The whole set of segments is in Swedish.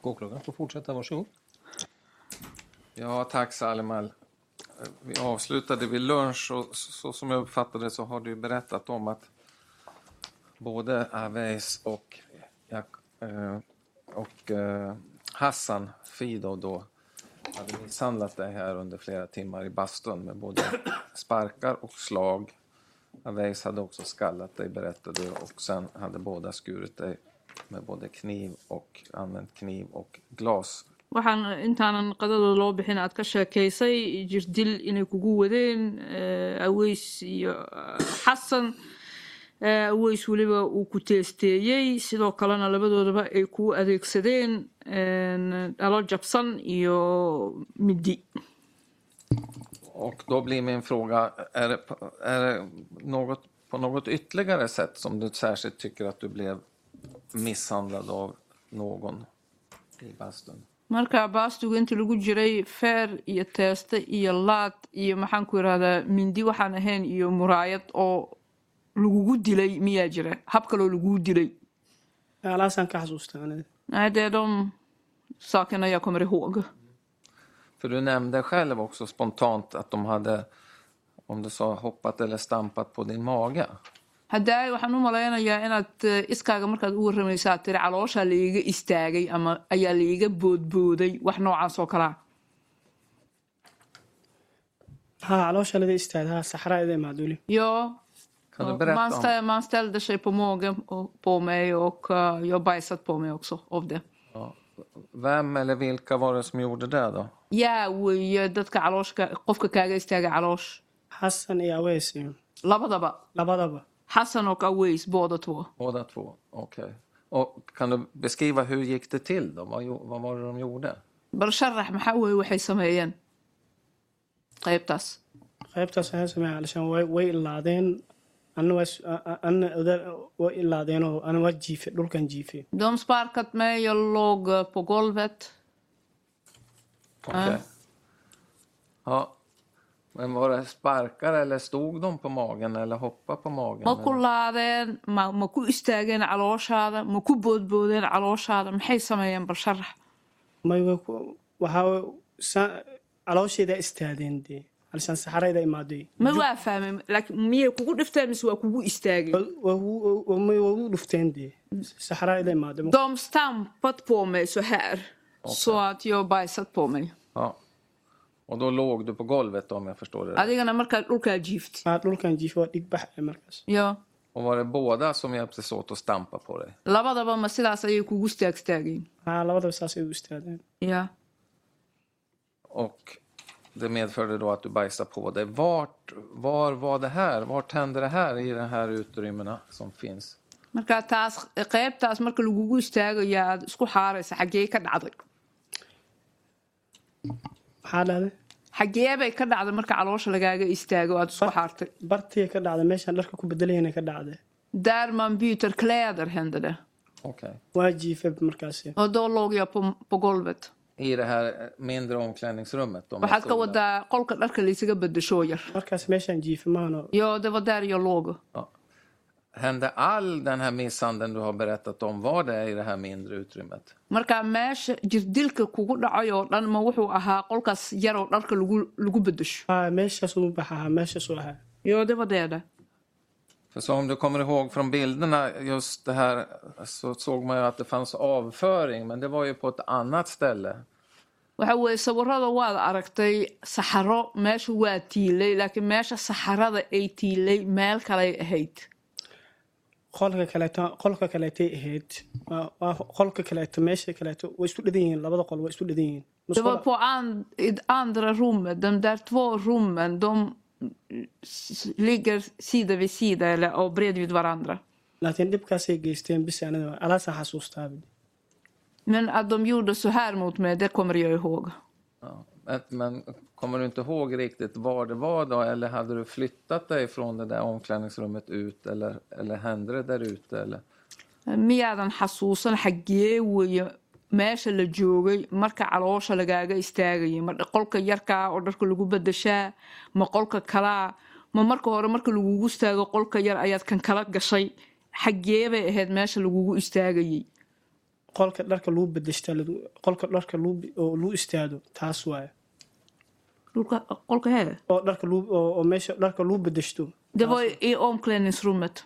och åklagaren får fortsätta. Varsågod. Ja, tack Salimal. Vi avslutade vid lunch och så, så som jag uppfattade så har du berättat om att både Aves och, Jak- eh, och eh, Hassan Fido då hade misshandlat dig här under flera timmar i bastun med både sparkar och slag. Aves hade också skallat dig berättade du och sen hade båda skurit dig med både kniv och använt kniv och glas waxaan intaanan qadada loo bixin aad ka sheekaysay jirdil inay kugu wadeen eh, aweys iyo eh, xasan eh, aweys weliba uu ku teesteeyey sidoo kalena labadoodaba ay kuu adeegsadeen en, dhalo jabsan iyo midi Och då blir min fråga, är det, på- är det något, på något ytterligare sätt som du särskilt tycker att du blev misshandlad av någon i bastun? marka baastuga inta lagu jiray feer iyo teeste iyo laad iyo maxaan ku irahdaa mindi waxaan ahayn iyo muraayad oo lagugu dilay miyaa jira hab kaloo laguu dilay Alaasaan ka xasuustaa aniga. Nej, det är de sakerna jag kommer ihåg. För du nämnde själv också spontant att de hade, om du sa hoppat eller stampat på din mage. hadaaye waxaan u malaynayaa inaad eh, iskaaga markaad ugu ramaysa aad tiri calooshaa laiga istaagay ama ayaa laiga boodbooday wax noocaas oo kalea Haa, caloosha laga istaaga. Haa, saxraa ida imaad weli. ja Kan du och berätta man, om, ställ, man ställde sig på magen och- på mig och eh, jag bajsat på mig också av det ja, vem eller vilka var det som gjorde det då? yaa weeye dadka calooshka qofka kaaga istaaga caloosh Xasan iyo Aweys iyo labadaba labadaba. xasan och aways båda två Båda två? Okej. Och kan du beskriva hur gick det till då? Vad, gjo- vad var det de gjorde? bal sharax maxaa weeye waxay sameeyeen qaybtaas Qaybtaas waxaan sameeyay alashaan way way ilaadeen. Anna waa s- a- a- anna oda- way ilaadeen oo anna waa jiifay, dhulkan jiifay. De sparkat mig, jag låg eh, på golvet. Okej. Ja. Men var det sparkar eller stod de på magen eller hoppade på magen? Ma ku laadeen ma ma ku istaageen calooshaada ma ku boodboodeen calooshaada maxay sameeyeen bal sharax May way ku- waxaa way saa- caloosheeda istaadeen dee. Alashaan saxraa ida imaaday. ma waa fahmay laakiin miyay kugu dhifteen mise waa kugu istaageen Wa- wa- wa- wa- may way u dhufteen dee. Saxraa ida imaaday. De stampat på mig så här så att jag bajsat på mig Ja. Och då låg du på golvet då, om jag förstår det rätt. adigana markaad dhulkaa jiift Waxaa dhulkan jiifay, waa dhig bax markaas. yo Och var det båda som hjälptes åt att stampa på dig? labadaba ma sidaas ayay kugu istaagstaageen Haa, labadaba saasay u istaadeen. ya Och det medförde då att du bajsade på dig. Vart, var var det här? Vart hände det här i de här utrymmena som finns? marka taas qaybtaas marka lagugu istaagayaa aad isku xaaraysa xaggee ka dhacday Maxaa dhahday? xaggee bay ka dhacday marka caloosha lagaaga istaago aad isku xaartay bartiga ka dhacday meeshaan dharka ku bedelayana ka dhacday där man byter kläder hände det Okej. waa jiifay markaasi och då låg jag på, på golvet I det här mindre omklädningsrummet? de här waxaad ka stora. wadaa qolka dharka laysaga bedesho yar markaas meeshaan jiifay maahano ja det var där jag låg Ja. Hände all den här misshandeln du har berättat om, var det i det här mindre utrymmet? marka meesha jirdilka kugu dhacay oo dhan ma wuxuu ahaa qolkaas yar oo dharka lagu lagu bedesho haa meeshaas uu baxaa meeshaasuu ahaa ja det var det det För så om du kommer ihåg från bilderna, just det här så såg man ju att det fanns avföring, men det var ju på ett annat ställe. waxa weeye sawirada waad aragtay saxaro meesha waa tiilay laakiin meesha saxarada ay tiilay meel kaley ahayd qolka kaleeto qolka kaleetay ahayd Waa- waa qolka kaleeto meesha kaleeto way isku dhadan yihiin labada qol way isku dhadan yihiin Nus Det var qol- på and, i det andra rummet, de där två rummen, de s- ligger sida vid sida eller och bredvid varandra. laakiin dhibkaasay geysteen bis anada alaasaan xasuustaa Men att de gjorde så här mot mig, det kommer jag ihåg. Ja. Men- Men kommer du inte ihåg riktigt var det var då? Eller hade du flyttat dig från det där omklädningsrummet ut? Eller, eller hände det där ute? Eller? miyaadan xasuusan xaggee weeye meesha la joogay marka caloosha lagaaga istaagayay ma dh- qolka yarkaa oo dharka lagu bedeshaa ma qolka kalaa ma marka hore marka lagugu istaago qolka yar ayaad kan kala gashay xaggee bay ahayd meesha lagugu istaagayay qolka dharka lagu bedeshtaa lagu- qolka dharka lagu be- oo lagu istaado taas waaye dhulka qolka hee oo dharka lagu- oo oo meesha dharka lagu bedeshto det var i omklädningsrummet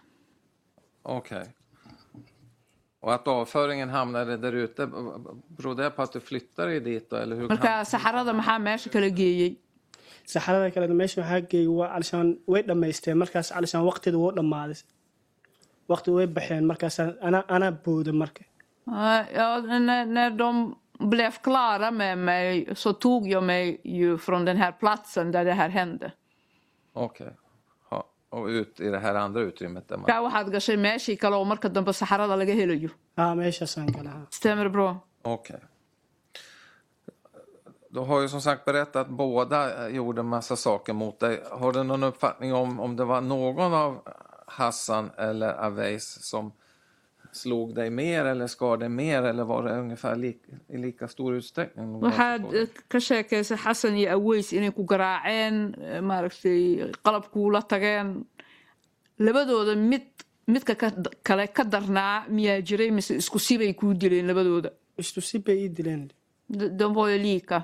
Okej. Och att avföringen hamnade där ute, b- b- beror det på att du flyttade dig dit då? Eller hur kan... marka saxarada maxaa meesha kala geeyey saxarada kale meesha waxaa geeyay waa calishaan way dhammaysteen markaas calishaan waqtida wuu dhammaaday waqti way baxeen markaas anaa anaa booda marka Ja, ja, när, när de blev klara med mig så tog jag mig ju från den här platsen där det här hände. Okej. Ja, Och ut i det här andra utrymmet där man... Kaa waxaad gashay meeshii kale oo marka dambe saxarada laga helayo. haa meeshaasaan galaha Stämmer det bra? Okej. Du har ju som sagt berättat att båda eh, gjorde en massa saker mot dig. Har du någon uppfattning om om det var någon av Hassan eller Aves som slog dig mer eller skar dig mer eller var det ungefär lik, i lika stor utsträckning? Waxaad eh, ka sheekaysa Xasan iyo Aweys inay ku garaaceen eh, maaragtay qalabkuu la tageen labadooda mid midka ka kale ka darnaa miyaa jiray mise isku sibay kuu dileen labadooda istu si bay ii dileen De- de var ju lika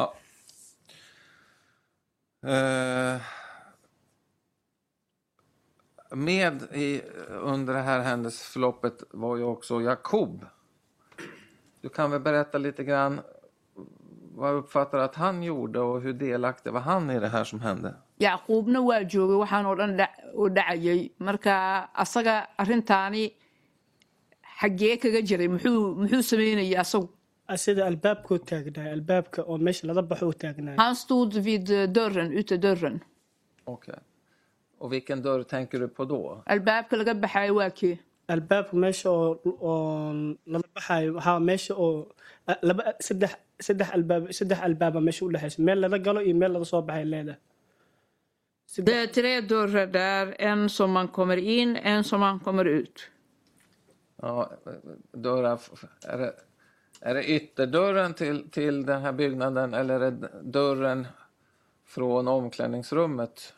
Ja. Eh, med i, under det här händelseförloppet var ju också Jakob. Du kan väl berätta lite grann vad jag uppfattar att han gjorde och hur delaktig var han i det här som hände? yacquubna waa joogay waxaan oo dhan dhac- u dhacayay marka asaga arrintaani xaggee kaga jiray muxuu muxuu sameynayay asagu sida albaabkoo taagnaay albaabka oo meesha laga baxo oo taagnaay han stod vid eh, dörren ute dörren Okej. Och vilken dörr tänker du på då? albaabka laga baxayo waa kee albaabka meesha oo oo laga baxaayo haa meesha oo a- laba saddex saddex albaab saddex albaaba meesha u dhexaysa meel laga galo iyo meel laga soo baxay leedahay Det är tre dörrar där, en som man kommer in, en som man kommer ut. Ja, dörrar, är, det, är det ytterdörren till, till den här byggnaden eller är det dörren från omklädningsrummet?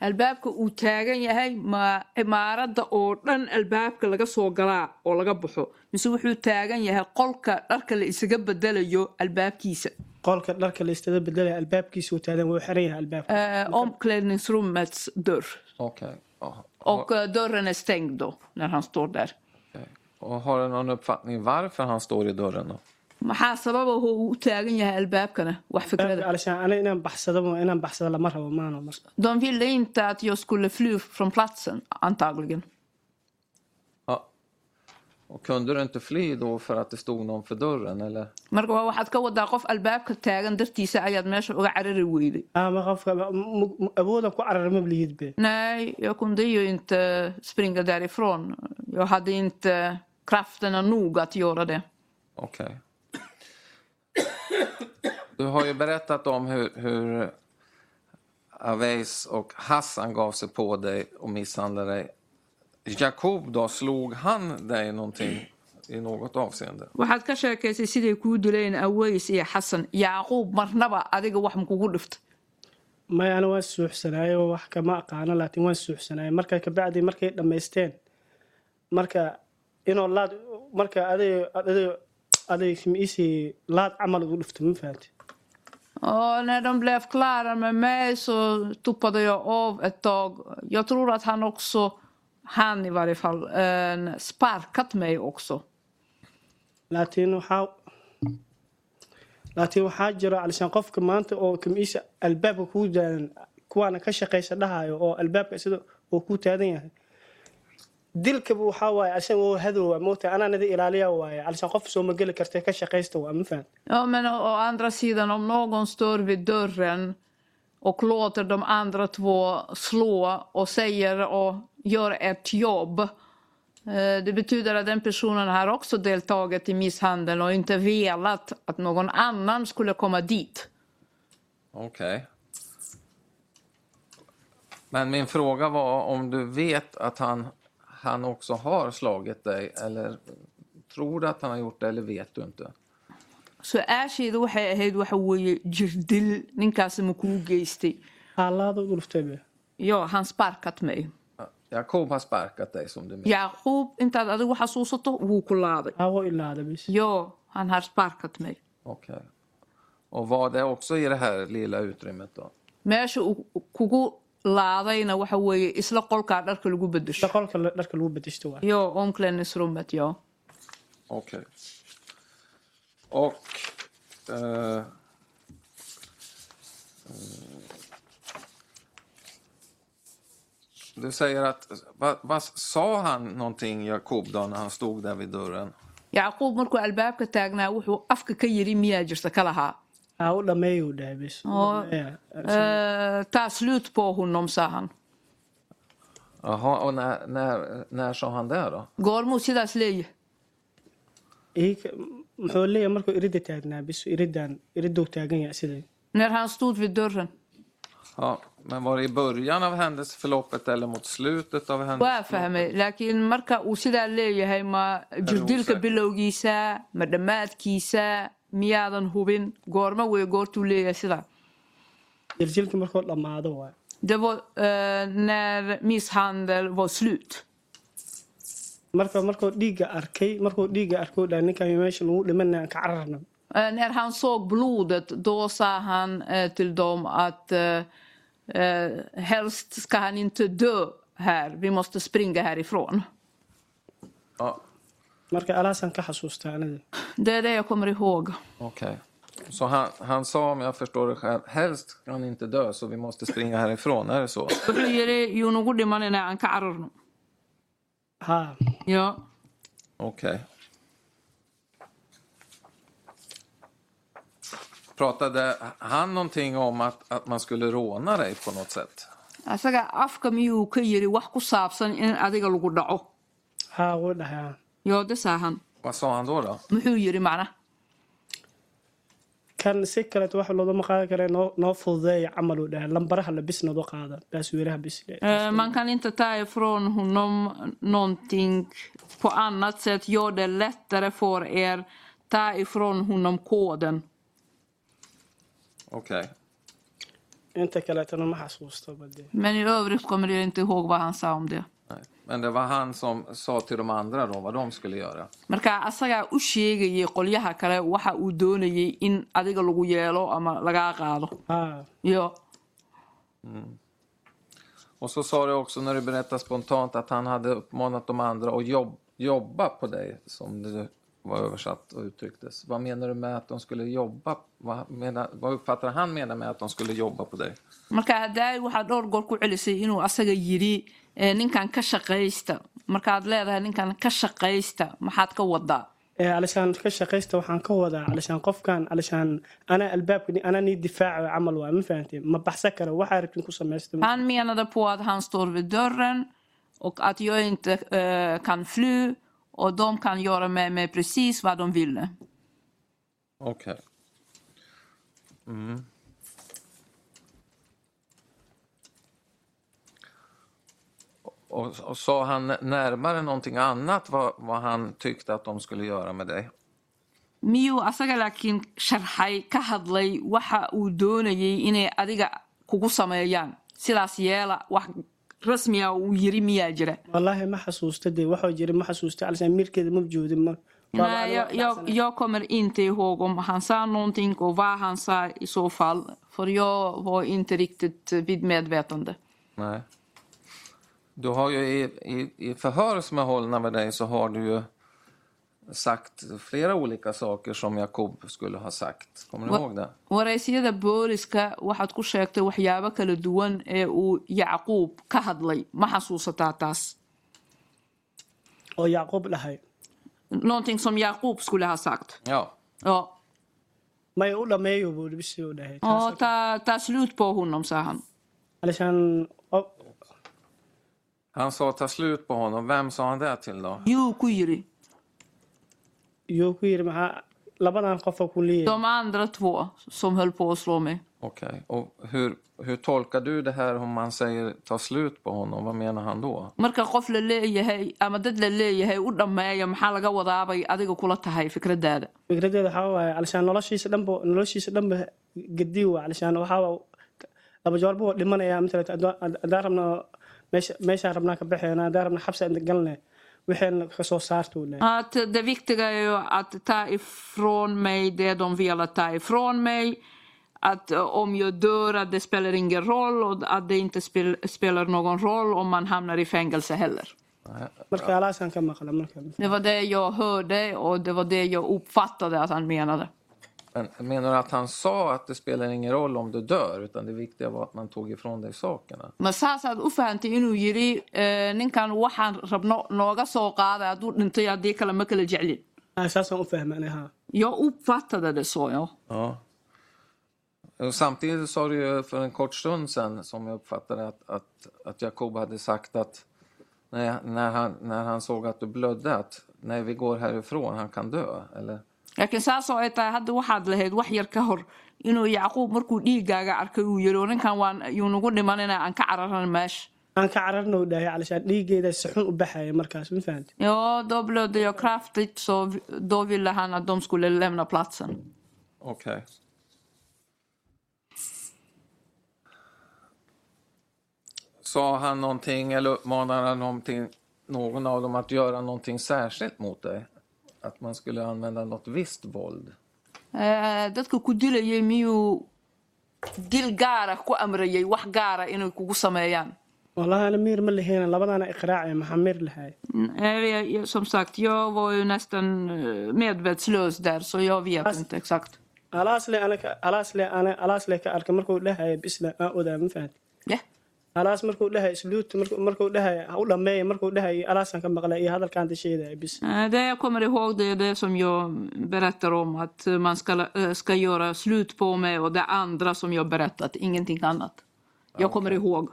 Albaabka uu taagan yahay ma imaarada oo dhan albaabka laga soo galaa oo laga baxo mise wuxuu taagan yahay qolka dharka la isaga bedelayo albaabkiisa qolka dharka la istada bedelaya albaabkiisa oo taagan wuu xiran yahay albaabka Eh, omklädningsrummets dörr. Okej. Ja. Och eh, dörren är stängd då, när han står där. Och har du någon uppfattning varför han står i dörren då? Maxaa sababa uu u taagan yahay albaabkana? Wax fikrada. alishaan ana inaan baxsado inaan baxsado lama rabo maano marka De ville inte att jag skulle fly från platsen, antagligen. Ja. Och kunde du inte fly då för att det stod någon för dörren eller? marka waa waxaad ka wadaa qof albaabka taagan dartiisa ayaad meesha uga carari weyday ama qofka m- m- awoodan ku carara mablihid be nej jag kunde ju inte springa därifrån jag hade inte krafterna nog att göra det Okej. Du har ju berättat om hur, hur Aves och Hassan gav sig på dig och misshandlade dig. Jakob då, slog han dig någonting i något avseende? waxaad ka sheekaysay siday kuu dileen aways iyo xasan yacquub marnaba adiga wax makugu dhifta maya ana waan suuxsanaayo wax kama aqaano laakiin waan suuxsanaayo marka kabacdi markay dhammaysteen marka inoo laad marka aday aday aday kimiisii laad camal ugu dhufto ma fahanti Och när de blev klara med mig så tuppade jag av ett tag. Jag tror att han också, han i varje fall, eh, sparkat mig också. laakiin waxaa laakiin waxaa jira alishaan qofka maanta oo kimiisa albaabka kuu daadan kuwaana ka shaqaysa dhahayo oo albaabka sida oo kuu taadan yahay dilkaba waxaa waaye alishaan oo hadowaa moogta anaanada ilaaliya waaye alishaan qof soo mageli karta ka shaqaysta waa ma fahanti Ja, men å, å andra sidan, om någon står vid dörren och låter de andra två slå och säger och gör ett jobb. eh, Det betyder att den personen har också deltagit i misshandeln och inte velat att någon annan skulle komma dit. Okej. Men min fråga var om du vet att han, han också har slagit dig eller tror du att han har gjort det eller vet du inte? su-aashayda waxay ahayd waxa weeye jirdil ninkaasi ma kuu geystay haa laada ugu dhuftay be yo han sparkat mig Ja, Jakob har sparkat dig som du minns. yacquub intaad adigu xasuusato wuu ku laaday Hawo ilaada bis. yo han har sparkat mig Okej. Och var det också i det här lilla utrymmet då? meesha uu kugu laadayna waxa weeye isla qolkaa dharka lagu bedesho Dhaqolka la- dharka lagu bedeshto waay. yo omklenisrumet yo Okej. Och... Eh, eh, du säger att... Vad vad sa han någonting, Jakob, då när han stod där vid dörren? yacquub markuu albaabka taagnaa wuxuu afka ka yidhi miyaa jirta ka lahaa Hawo dhameeyo dhahay bis. Oo. Eh, taa sluut på honom sa han Jaha, och när, när, när sa han det då? goormuu sidaas leeyahay Iik muxuu leeyahay markuu irida taagnaa bis iridan iriduu taagan yahay sidii. när han stod vid dörren Ja, men var det i början av händelseförloppet eller mot slutet av waa händelseförloppet? fahmay laakiin marka uu sidaa leeyahay ma jirdilka ogsaac. bilowgiisa ma dhammaadkiisa miyaadan hubin goorma wey goortuu leeyahay sidaa Jiljilka markuu dhamaado waay. Det var eh, när misshandel var slut. Marka markuu dhiiga arkay markuu dhiiga arkoo dhaa ninkan meesha lagu dhimanaya aan ka cararna. Eh, när han såg blodet då sa han eh, till dem att eh, eh, helst ska han inte dö här. Vi måste springa härifrån. Ja, Marka alaasaan ka xasuustaa anada. Det är det jag kommer ihåg. okej. Så han, han sa, om jag förstår det själv, helst ska han inte dö så vi måste springa härifrån, är det så? Wuxuu yidhi yuu nagu dhimanina aan ka cararno. Haa. Ja. Okej. Pratade han någonting om att, att man skulle råna dig på något sätt? Asaga afka miyuu ka yidhi wax ku saabsan in adiga lagu dhaco. Haa wuu dhahay. Joo, det sa han. Vad sa han då? då? Muxuu yidhi macnaha? kan si kaleeto waxa loodama qaadan kara noo noo fududeeya camaluu dhahay lambaraha la bis nodo qaada baasweeraha bis Eh, Man kan inte ta ifrån honom någonting på annat sätt. Gör det lättare för er. Ta ifrån honom koden. Okej. inta kaleetana ma xasuusto bade Men i övrigt kommer jag inte ihåg vad han sa om det. Nej. Men det var han som sa till de andra då vad de skulle göra? marka asagaa u sheegayay qolyaha kale waxa uu doonayay in adiga lagu yeelo ama lagaa qaado haa yo Och så sa du också när du berättade spontant att han hade uppmanat de andra att jobb, jobba på dig, som det var översatt och uttrycktes. Vad menar du med att de skulle jobba? Vad, menar, vad uppfattar han menar med att de skulle jobba på dig? marka hadaay waxaa dhowr goor ku celisay inuu asaga yidhi eh, ninkan ka shaqaysta markaad leedahay ninkan ka shaqaysta maxaad ka wadaa alishaan ka shaqaysta waxaan ka wadaa alishaan qofkan alishaan anaa albaabka ni- anaa nii difaacayo camal waay ma fahanteen ma baxsa karo waxaa rabtin ku samaysta Han menade på att han står vid dörren och att jag inte eh, kan fly och de kan göra med mig precis vad de ville. Okej. Mm. Och, och sa han närmare någonting annat vad, vad han tyckte att de skulle göra med dig? miyuu asaga laakiin sharxay ka hadlay waxa uu doonayay inay adiga kugu sameeyaan sidaas yeela wax rasmiya uu yiri miyaa jira wallaahi ma xasuusta dee waxuu jiri ma xasuusta alishaan miirkeeda ma joodin ma Nej, jag, jag, jag kommer inte ihåg om han sa någonting och vad han sa i så fall. För jag var inte riktigt eh, vid medvetande. Nej. Du har ju i, i, i förhör som är hållna med dig så har du ju sagt flera olika saker som Jakob skulle ha sagt. Kommer du Va- ihåg det? waraysiyada booliska waxaad ku sheegtay waxyaabo kala duwan ee uu yacquub ka hadlay ma xasuusataa taas oo yacquub dhahay någonting som yacquub skulle ha sagt Ja. ja maya u dhameeyo buu bis u dhahay och ta, ta slut på honom sa han alishaan o- Han sa ta slut på honom. Vem sa han det till då? yuu ku yiri yuu ku yiri maxaa labadan qofa ku leeyahay de andra två som höll på att slå mig Okej. Och hur, hur tolkar du det här om man säger ta slut på honom? Vad menar han då? marka qof la leeyahay ama dad la leeyahay u dhammeeya maxaa laga wadaabay adiga kula tahay fikradaada fikradeeda waxaa waaye alishaan noloshiisa dhanba noloshiisa dhanba gediy waa alishaan waxaa waa laba joorba waa dhimanaya matalet haddaan rabno meesha meeshaan rabnaa ka baxeena haddaan rabnaa xabsi aan galnay waxayna ka soo saartuu leh Att det viktiga är ju att ta ifrån mig det de vill att ta ifrån mig. Att eh, om jag dör, att det spelar ingen roll och att det inte spel, spelar någon roll om man hamnar i fängelse heller. marka alaasaan ka maqla marka Det var det jag hörde och det var det jag uppfattade att han menade. Men menar du att han sa att det spelar ingen roll om du dör utan det viktiga var att man tog ifrån dig sakerna? ma saasaad u fahantay inuu yidhi eh, ninkan waxaan rabno nooga soo qaada hadduu dhintay haddii kale ma kala jeclin Ah, saasaan u fahmanay ha jag uppfattade det så ja. Ja. Och samtidigt sa du ju för en kort stund sedan, som jag uppfattade att, att, att Jakob hade sagt att när, när, han, när han såg att du blödde att nej, vi går härifrån, han kan dö. Eller? laakiin saas oo ay tahay hadda waxaad lahayd wax yar ka hor inuu yacquub markuu dhiiggaaga arkay uu yidhi "Oo ninkan waan yuu nagu dhimanina aan ka cararan meesha aan ka cararna u dhahay calashaan dhiigeeda si xun u baxaya markaas ma fahanti ja då blev det jag kraftigt så vi- då ville han att de skulle lämna platsen Okej. Sa han någonting eller uppmanade han någonting, någon av dem att göra någonting särskilt mot dig? Att man skulle använda något visst våld? Eh, dadka ku dilayay miyuu dil gaara ku amrayay wax gaara inay kugu sameeyaan wallahi ana miir ma leheyna labadaana iqraacaya maxaa miir lahay Nej, Mm, eh, jag- jag- Som sagt, jag var ju nästan eh, medvetslös där så jag vet Fast- inte exakt. alaasle anaka alaasle ana alaasle ka arkay markuu dhahaya bisla aan odaa ma fahanti Ja. alaas markuu dhahaya isluut markuu markuu dhahaya ha u dhameeya markuu dhahaya alaasaan ka maqlay iyo hadalkaan tasheedaya bis Eh, Det jag kommer ihåg det är det som jag berättar om att man ska, eh, ska göra slut på mig och det andra som jag berättat, ingenting annat. Jag kommer ihåg.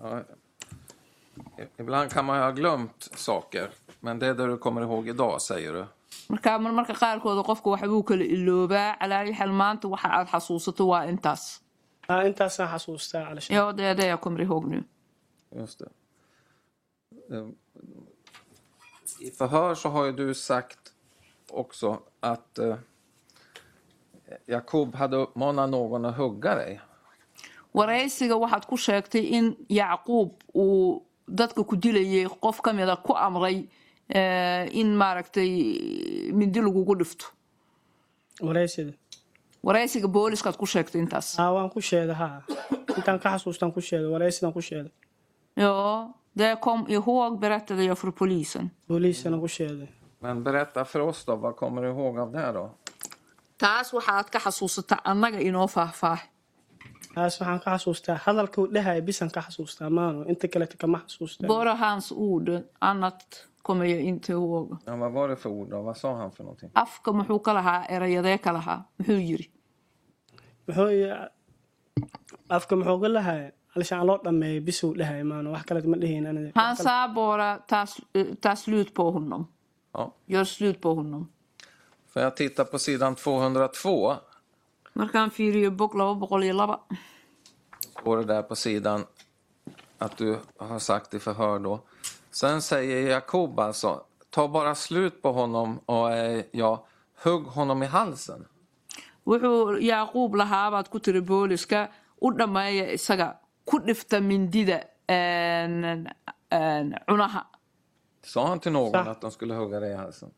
Ja. I- Ibland kan man ju ha glömt saker, men det är det du kommer ihåg idag, säger du. marka marmarka qaarkooda qofku waxa buu kala iloobaa calaa ayi xal maanta waxa aad xasuusato waa intaas ah intaasaan xasuustaa calashaan ja det är det jag kommer ihåg nu Just det. Ehm, I förhör så har ju du sagt också att eh, Jakob hade uppmanat någon att hugga dig. waraysiga waxaad ku sheegtay in yacquub uu dadka ku dilayay qof ka mida ku amray eh, in maaragtay mindi lagugu dhifto wareysida waraysiga booliskaad ku sheegtay intaas ah waan ku sheeda haa intaan ka xasuustaan ku sheeda wareysidaan ku sheeda ja det kom ihåg berättade jag för polisen booliisana ku sheeday Men berätta för oss då, vad kommer du ihåg av det då? taas waxaad ka xasuusataa annaga inoo faahfaah taas waxaan ka xasuustaa hadalkuu dhahaya bisan ka xasuustaa maano inta kaleta kama xasuustaa bara hans ord annat kommer jag inte ihåg Ja, vad var det för ord då? Vad sa han för någonting? afka muxuu ka lahaa erayadee ka lahaa muxuu yiri muxuu i- afka muxuu ga lahaya alishaan loo dhameeyo bisuu dhahaya maano wax kaleta ma dheheen aniga han sa bara ta, sl- ta slut på honom Ja. gör slut på honom För jag tittar på sidan 202 markaan fiiriyo bog laba boqol iyo laba står det där på sidan att du har sagt i förhör då. Sen säger Jakob alltså, ta bara slut på honom och eh, ja, hugg honom i halsen. wuxuu yaaquub lahaabaad ku tiri booliska u dhammeeya isaga ku dhifta mindida een, een, cunaha Sa han till någon Så. att de skulle hugga dig i halsen?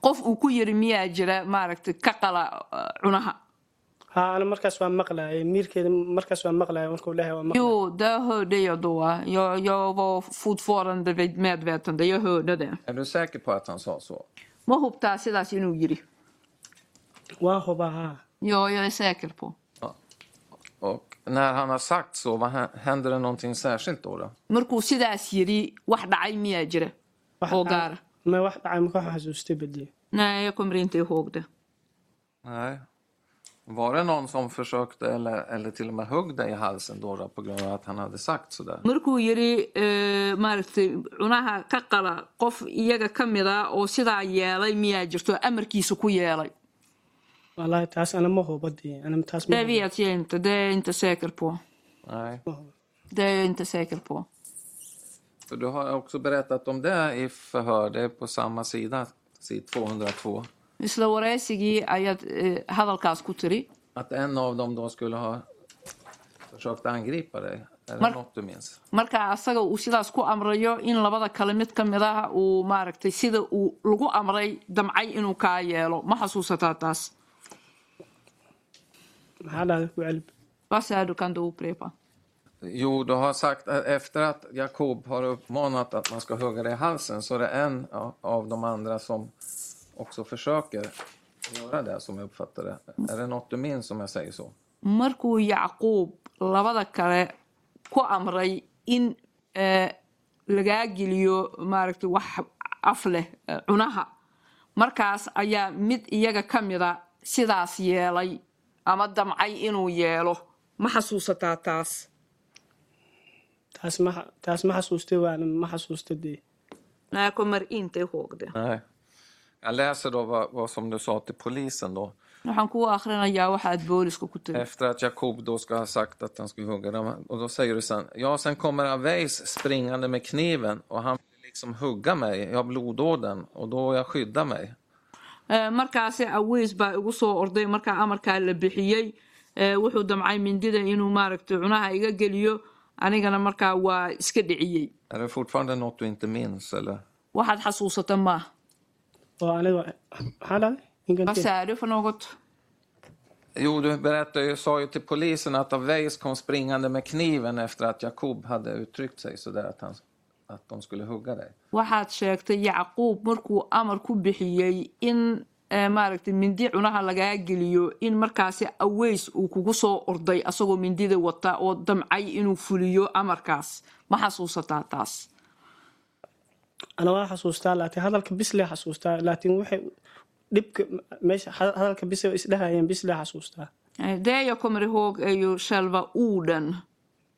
qof uu ku yiri miyaa jira maaragtay ka qala eh, cunaha haa ana markaas waan maqlayay miirkeeda markaas waan maqlayay markuu dhahaya waan maqlayay jo det hörde jag då jag, jag var fortfarande vid medvetande jag hörde det Är du säker på att han sa så? ma hubtaa sidaas inuu yiri waan hubaa haa ja jag är säker på Ja. Och när han har sagt så, vad hä- händer det någonting särskilt då? då? markuu sidaas yiri wax dhacay miyaa jira Wax oo dhacay- gaara ma wax dhacay maka wax xasuustay badiye nej jag kommer inte ihåg det Nej. Var det någon som försökte eller, eller till och med högg dig i halsen då, då på grund av att han hade sagt sådär? markuu yidhi eh, maaragtay cunaha ka qala qof iyaga ka mid a oo sidaa yeelay miyaa jirto amarkiisa ku yeelay wallaahi taas ana ma hubadiye ana taas ma det hubo. vet jag inte det är jag inte säker på Nej. Ma hubo. det är jag inte säker på För du har också berättat om det i förhör, det är på samma sida, sid 202. isla waraysigii ayaad eh, hadalkaas ku tiri Att en av dem då skulle ha försökt angripa dig. Är det Mar- något du minns? marka asaga uu sidaas ku amrayo in labada kale mid ka mid ah uu maaragtay sida uu lagu amray damcay inuu kaa yeelo ma xasuusataa taas maxaa dhahday ku celib Vad är du kan du upprepa? Jo, du har sagt att efter att Jakob har uppmanat att man ska hugga dig i halsen så är det en a- av de andra som också försöker göra det som jag uppfattar det. Är det något du minns om jag säger så? markuu yacquub labada kale ku amray in eh, lagaa geliyo maaragtay wax af leh eh, cunaha markaas ayaa mid iyaga ka mida sidaas yeelay ama damcay inuu yeelo ma xasuusataa taas taas ma taas ma xasuustay waan ma xasuusta dee Nej, jag kommer inte ihåg det. Nej. Jag läser då vad, vad som du sa till polisen då. Waxaan kuu akhrinayaa waxaad booliska ku tiri. Efter att Jakob då ska ha sagt att han skulle hugga dem. Och då säger du sen, ja sen kommer Aveis springande med kniven och han vill liksom hugga mig. Jag har blodådern och då jag skyddar mig. Ee, Eh, markaasi aweys baa igu soo orday markaa amarkaa la bixiyey ee, wuxuu damcay mindida inuu maaragtay cunaha iga geliyo anigana markaa waa iska dhiciyey Är det fortfarande något du inte minns eller? waxaad xasuusata maaha oo aniga maxaa dhahday ingante basaarif något Jo, du berättade ju, sa ju till polisen att Aveis kom springande med kniven efter att Jakob hade uttryckt sig sådär att, han, att de skulle hugga dig. waxaad sheegtay yacquub markuu amar ku bixiyey in ee, maaragtay mindi cunaha lagaa geliyo in markaasi aweys uu kugu soo orday asagoo mindida wata oo damcay inuu fuliyo amarkaas ma xasuusataa taas ana waa xasuustaa laakiin hadalka bis lee xasuustaa laakiin waxay dhibka meesha ha- hadalka bis ay isdhahayeen bis lee xasuustaa Eh, Det jag kommer ihåg är ju själva orden.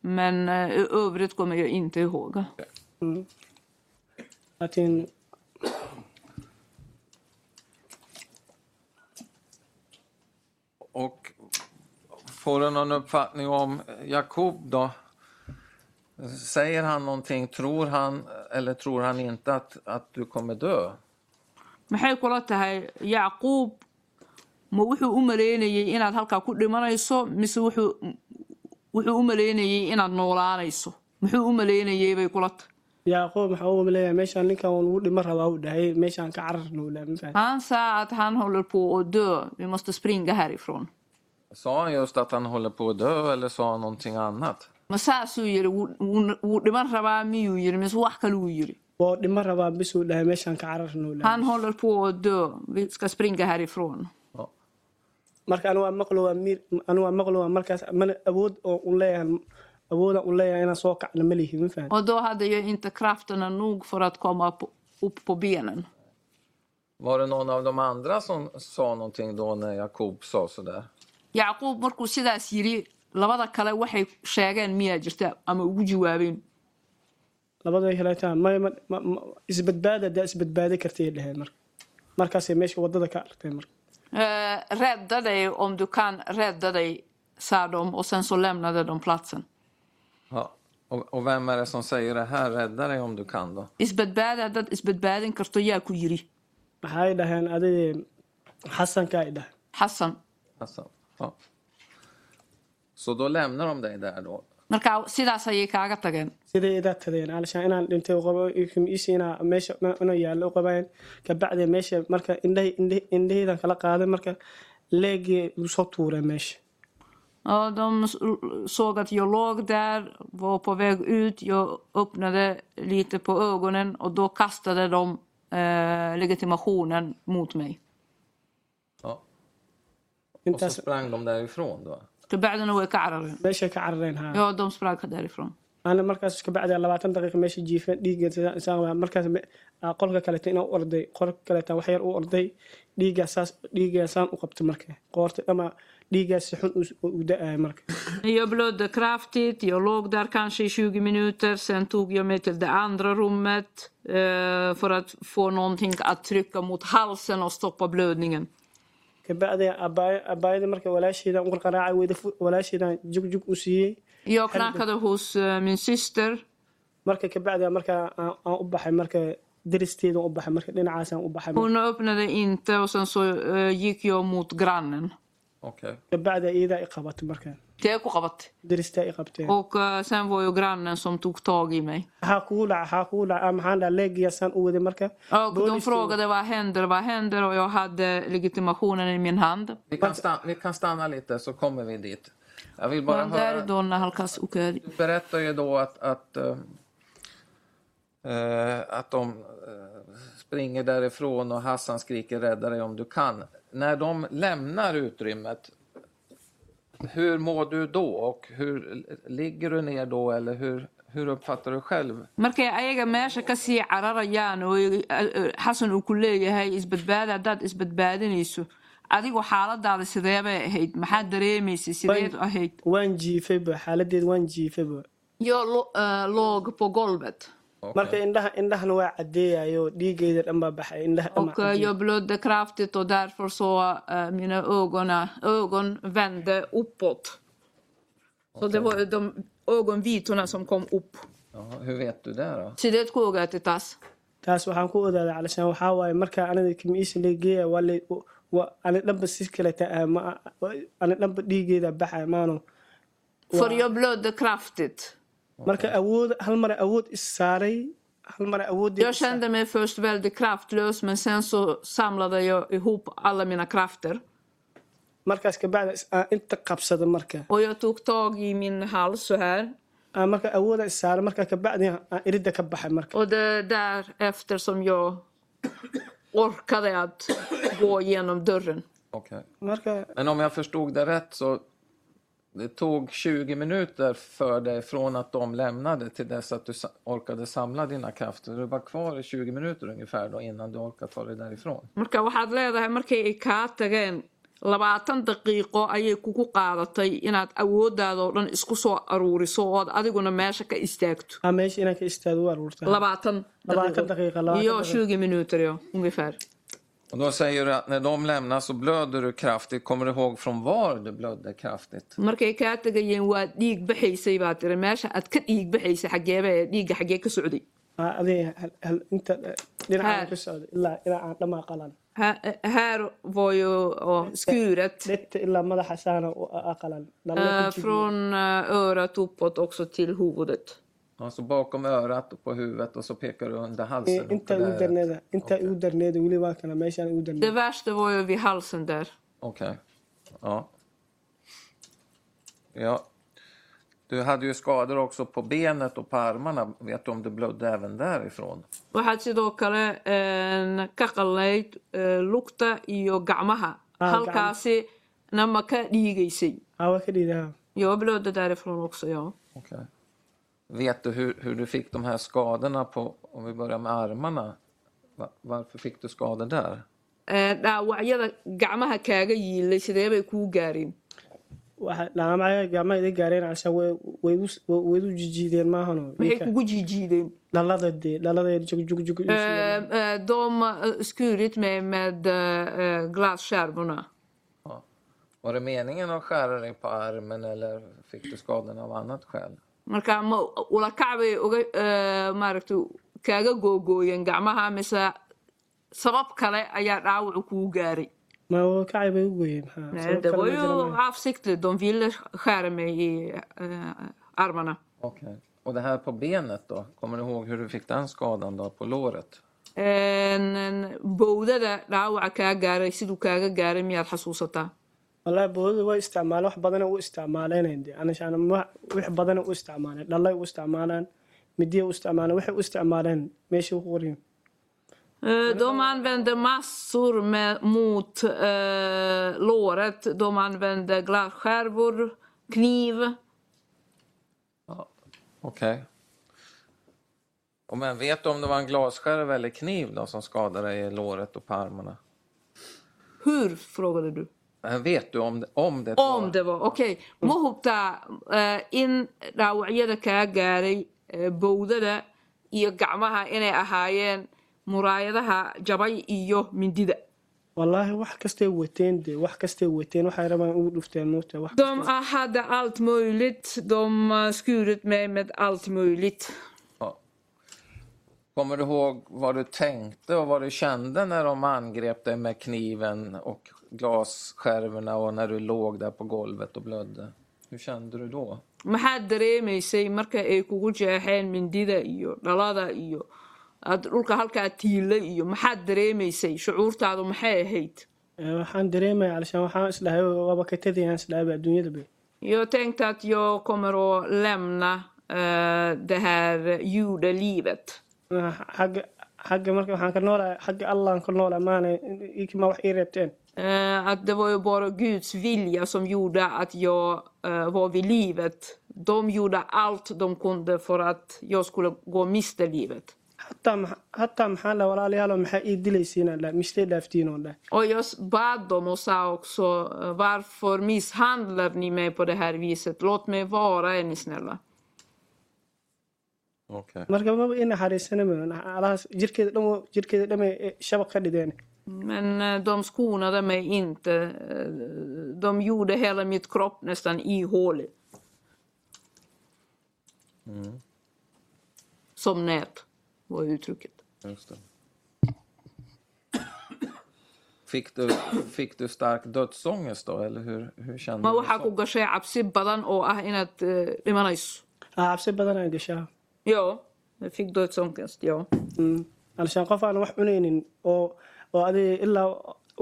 Men eh, i övrigt kommer jag inte ihåg. laakiin Och får du någon uppfattning om Jakob då? Säger han någonting? Tror han eller tror han inte att, att du kommer dö? maxay kula tahay yacquub ma wuxuu u maleynayey inaad halkaa ku dhimanayso mise wuxuu wuxuu u maleynayey inaad noolaanayso muxuu u maleynayey bay kula tahay yaaqoob maxaa uga maleeyaa meeshaan ninkan waan ugu dhima rabaa uu dhahayay meeshaan ka carar nuulaa ma fahamtay Han sa att han håller på att dö. Vi måste springa härifrån. Sa han just att han håller på att dö eller sa han någonting annat? ma saasuu yidhi wuu- wuu wuu dhiman rabaa miyuu yidhi mise wax kaluu yidhi waa dhima rabaa bis uu dhahay meeshaan ka carar nuulaa han håller på att dö vi ska springa härifrån Ja. marka anigu waa maqlo waa miir anigu waa maqlo waa markaas mana awood oo u leeyahay awoodaan u leeyahay inaan soo kacna ma lihi ma fahamtay Och då hade jag inte krafterna nog för att komma upp, upp på benen. Var det någon av de andra som sa någonting då när Jakob sa sådär? Yacquub markuu sidaas yidhi labada kale waxay sheegeen miyaa jirta ama ugu jawaabeen labada helataan ma ma- ma- ma- isbadbaada daa isbadbaadi kartay dhaheen marka markaasay meesha waddada ka arkteen marka Eh, rädda dig om du kan, rädda dig, sa de och sen så lämnade de platsen. Ja. Och, och vem är det som säger det här? Rädda dig om du kan då. Isbadbaada dad isbadbaadin karto yaa ku yidhi maxay dhaheen adig xasanka ay dhaheen Xasan Alltså, ja. Så då lämnar de dig där då? marka sidaas ayay kaaga tageen siday idaa tadeen alishaan inaan dhintay kumisi inaa meesha inuu yaallo u qabayn kabacdi meesha marka indhahaydan kala qaaday marka leegii igu soo tuuray meesha Ja, de s- såg att jag låg där, var på väg ut. Jag öppnade lite på ögonen och då kastade de eh, legitimationen mot mig. Ja. Och så intaas sprang de därifrån då? تبعدنا وكعرر meesha ka carareen haa يا دوم سبراك داريفرون ana markaas kabacdi labaatan daqiiqa meesha jiifeen dhiigga markaas me- aa qolka kaleta inaa u orday qolka kaleta wax yar u orday dhiiggaas dhiiggaasaan u qabtay marka qoorta ama dhiiggaas si xun u- u da-aay marka Jag blödde kraftigt, jag låg där kanske i 20 minuter. Sen tog jag mig till det andra rummet eh, för att få någonting att trycka mot halsen och stoppa blödningen. kabacdi abaayada marka walaasheedan u qarqaraacay weyda fu- walaasheedan jugjug u siiyey Jag knackade hos eh, min syster. marka kabacdi marka aan aan u baxay marka daristeedan u baxay marka dhinacaasaan u baxay marka. Hon öppnade inte och sen så eh, gick jag mot grannen. Okej. gabadha iyadaa i qabatay markaan Tee ku qabatay daristaa i qabteen och eh, sen var ju grannen som tog tag i mig. maxaa kugu laca maxaa kugu laca ah, maxaan dhaha leegiyaa saan u waday marka Och de Bolis- frågade vad händer, vad händer och jag hade legitimationen i min hand. Vi, kan stanna, vi kan stanna lite så kommer vi dit. Jag vill bara Men där höra... då när halkas och är- Du berättar ju då att, att, eh, eh, att de eh, springer därifrån och Hassan skriker rädda dig om du kan. När de lämnar utrymmet, hur mår du då? Och hur Ligger du ner då eller hur, hur uppfattar du själv? markay ayaga meesha ka sii cararayaan oo xasan uu ku leeyahay isbadbaada haddaad isbadbaadinayso adigu xaaladaada sideebay ahayd maxaad dareemaysay sideed ahayd waan jiifayba xaaladeed waan jiifayba yo lo- eh, låg på golvet marka indhaha indhahana waa caddeeyayo dhiigeyda dhan baa baxay indhaha dhan baa och eh, caddeeyay. jag blödde kraftigt och därför så eh, mina ögon, ögon vände uppåt. Så det var de ögonvitorna som kom upp. Ja, hur vet du det då? Sideed ku ogaatay taas taas waxaan ku odaaday calashaan waxaa waaye markaa anada kimiisa leegeeya waa le wa- ani dhanba si kaleta ma ani dhanba dhiigeeda baxaya maano för jag blödde kraftigt. marka awood hal mara awood is saaray hal mara awoodii Jag kände mig först väldigt kraftlös men sen så samlade jag ihop alla mina krafter. markaas kabacdi is- aan inta qabsada marka Och jag tog tag i min hals så här. aan marka awooda is saaray markaa kabacdi aan iridda ka baxay marka Och det är därefter som jag orkade att gå genom dörren. Okej. marka Men om jag förstod det rätt så det tog 20 minuter för dig från att de lämnade till dess att du sa- orkade samla dina krafter. Du var kvar i 20 minuter ungefär då innan du orkade ta dig därifrån. Marka waxaad leedahay markay ay kaa tageen labaatan daqiiqo ayay kugu qaadatay inaad awooddaada oo dhan isku soo aruuriso ood adiguna meesha ka istaagto. aa ah, meesha inaan ka istaago waa ruurta Labaatan Labaatan daqiiqo, labaatan Joo, daqiiqo. 20 minuter ja, ungefär. Och då säger du att när de lämnar så blöder du kraftigt. Kommer du ihåg från var du blödde kraftigt? markay kaa tegayeen waad dhiig baxaysay baa tiri meesha aad ka dhiig baxaysay xageeba ee dhiigga xagee ka socday adee inta ah, dhinacaan Här. ka socday ilaa ilaa aan dhamaa qalan Ha- här var ju ja, skuret dhegta ilaa madaxa saana ah, qalan dhalla eh, ku jiro. från eh, örat uppåt också till huvudet. Alltså bakom örat och på huvudet och så pekar du under halsen. och på intaa igu läret. darneeda intaa igu darneeda weli waa kana meeshaan igu Det darneeda värsta var ju vid halsen där. Okej. Ja. ja. Du hade ju skador också på benet och på armarna. Vet du om du blödde även därifrån? waxaad sidoo kale een, ka qalnayd eh, lugta iyo gacmaha Ah, halkaasi nama ka dhiigaysay aa waa ka dhiidaha Jag blödde därifrån också, ja. Okej. Vet du hur, hur du fick de här skadorna på, om vi börjar med armarna? Va- varför fick du skador där? Eh, Dhaawacyada gacmaha kaaga yiilay sidee bay kuu gaareen waxa dhaamacaya gacmaha iga gaareen casha way way igu s- way igu jijiideen maahano maxay kugu jiijiideen dhalada dee dhalada jugjug Eh, eh, de eh, skurit mig med eh, eh, glasskärvorna. Ja. Var det meningen att skära dig på armen eller fick du skadorna av annat skäl? marka ma walakac bay uga eh, maaragtay kaaga googooyeen gacmaha mise sabab kale ayaa dhaawacu kugu gaaray ma waa kacay bay u gooyeen maxaa Nej, sabab det kale var ma jira ju maaha. avsiktligt de ville skära mig i eh, armarna Okej. Och det här på benet då? Kommer du ihåg hur du fick den skadan då, på låret? En- en- bowdada dhaawaca kaa gaaray siduu kaaga gaaray miyaad xasuusataa wallaahi boodada waa isticmaalaan wax badana u isticmaaleen dee anashaan wax badana u isticmaaleen dhallay u isticmaalaan midiya u isticmaaleen waxay u isticmaaleen meesha u qoreen Eh, De använde massor med, mot eh, låret. De använde glasskärvor, kniv. Okej. Och men vet du om det var en glasskärv eller kniv då, som skadade dig i låret och på armarna? Hur, frågade du? Men Vet du om det, om det Om Mm. det var. Okej. Ma hubtaa eh, in dhaawacyada kaa gaaray eh, bowdada iyo gacmaha inay ahaayeen muraayadaha jabay iyo mindida. wallaahi wax kastay wateen dee wax kastay wateen waxay rabaan ugu dhufteen moogta wax De hade allt möjligt. De eh, skurit mig med allt möjligt. Ja. Kommer du ihåg vad du tänkte och vad du kände när de angrep dig med kniven och glasskärvorna och när du låg där på golvet och blödde? Hur kände du då? maxaad dareemaysay marka ay kugu jeexeen mindida iyo dhalada iyo aad dhulka halkaa tiillay iyo maxaad dareemaysay shucuurtaadu maxay ahayd waxaan dareemaya alishaan waxaan isdhahay waaba ka tadayaan isdhahayba adduunyada bay Jag tänkte att jag kommer att lämna eh, det här jordelivet. Ah, xagga xagga marka waxaan ka noolahay xagga allaan ka noolaa maana ikima wax ii reebteen Eh, att det var ju bara Guds vilja som gjorde att jag eh, var vid livet. De gjorde allt de kunde för att jag skulle gå miste livet. xataa maxa- xataa maxaa la walaalayaalo maxaa ii dilaysiinaan la mistay dhaaftiin oon la Och jag bad dem och sa också eh, varför misshandlar ni mig på det här viset? Låt mig vara är ni snälla. Okej. marka maba ii naxariisana mayn alahaas jirkeeda dhan wa- jirkeeda dhamay eh, shabaq ka dhideen Men eh, de skonade mig inte. Eh, De gjorde hela mitt kropp nästan ihålig. Som nät, var uttrycket. Just det. Fick du, fick du stark dödsångest då, eller hur, hur kände Ma du? waxaa ku så? gashay cabsi badan oo ah inaad eh, dhimanayso Ah, cabsi badanaan gashaa yo jag fick dödsångest yo Mm. alishaan qof aan wax cunaynin oo oo adiga ilaa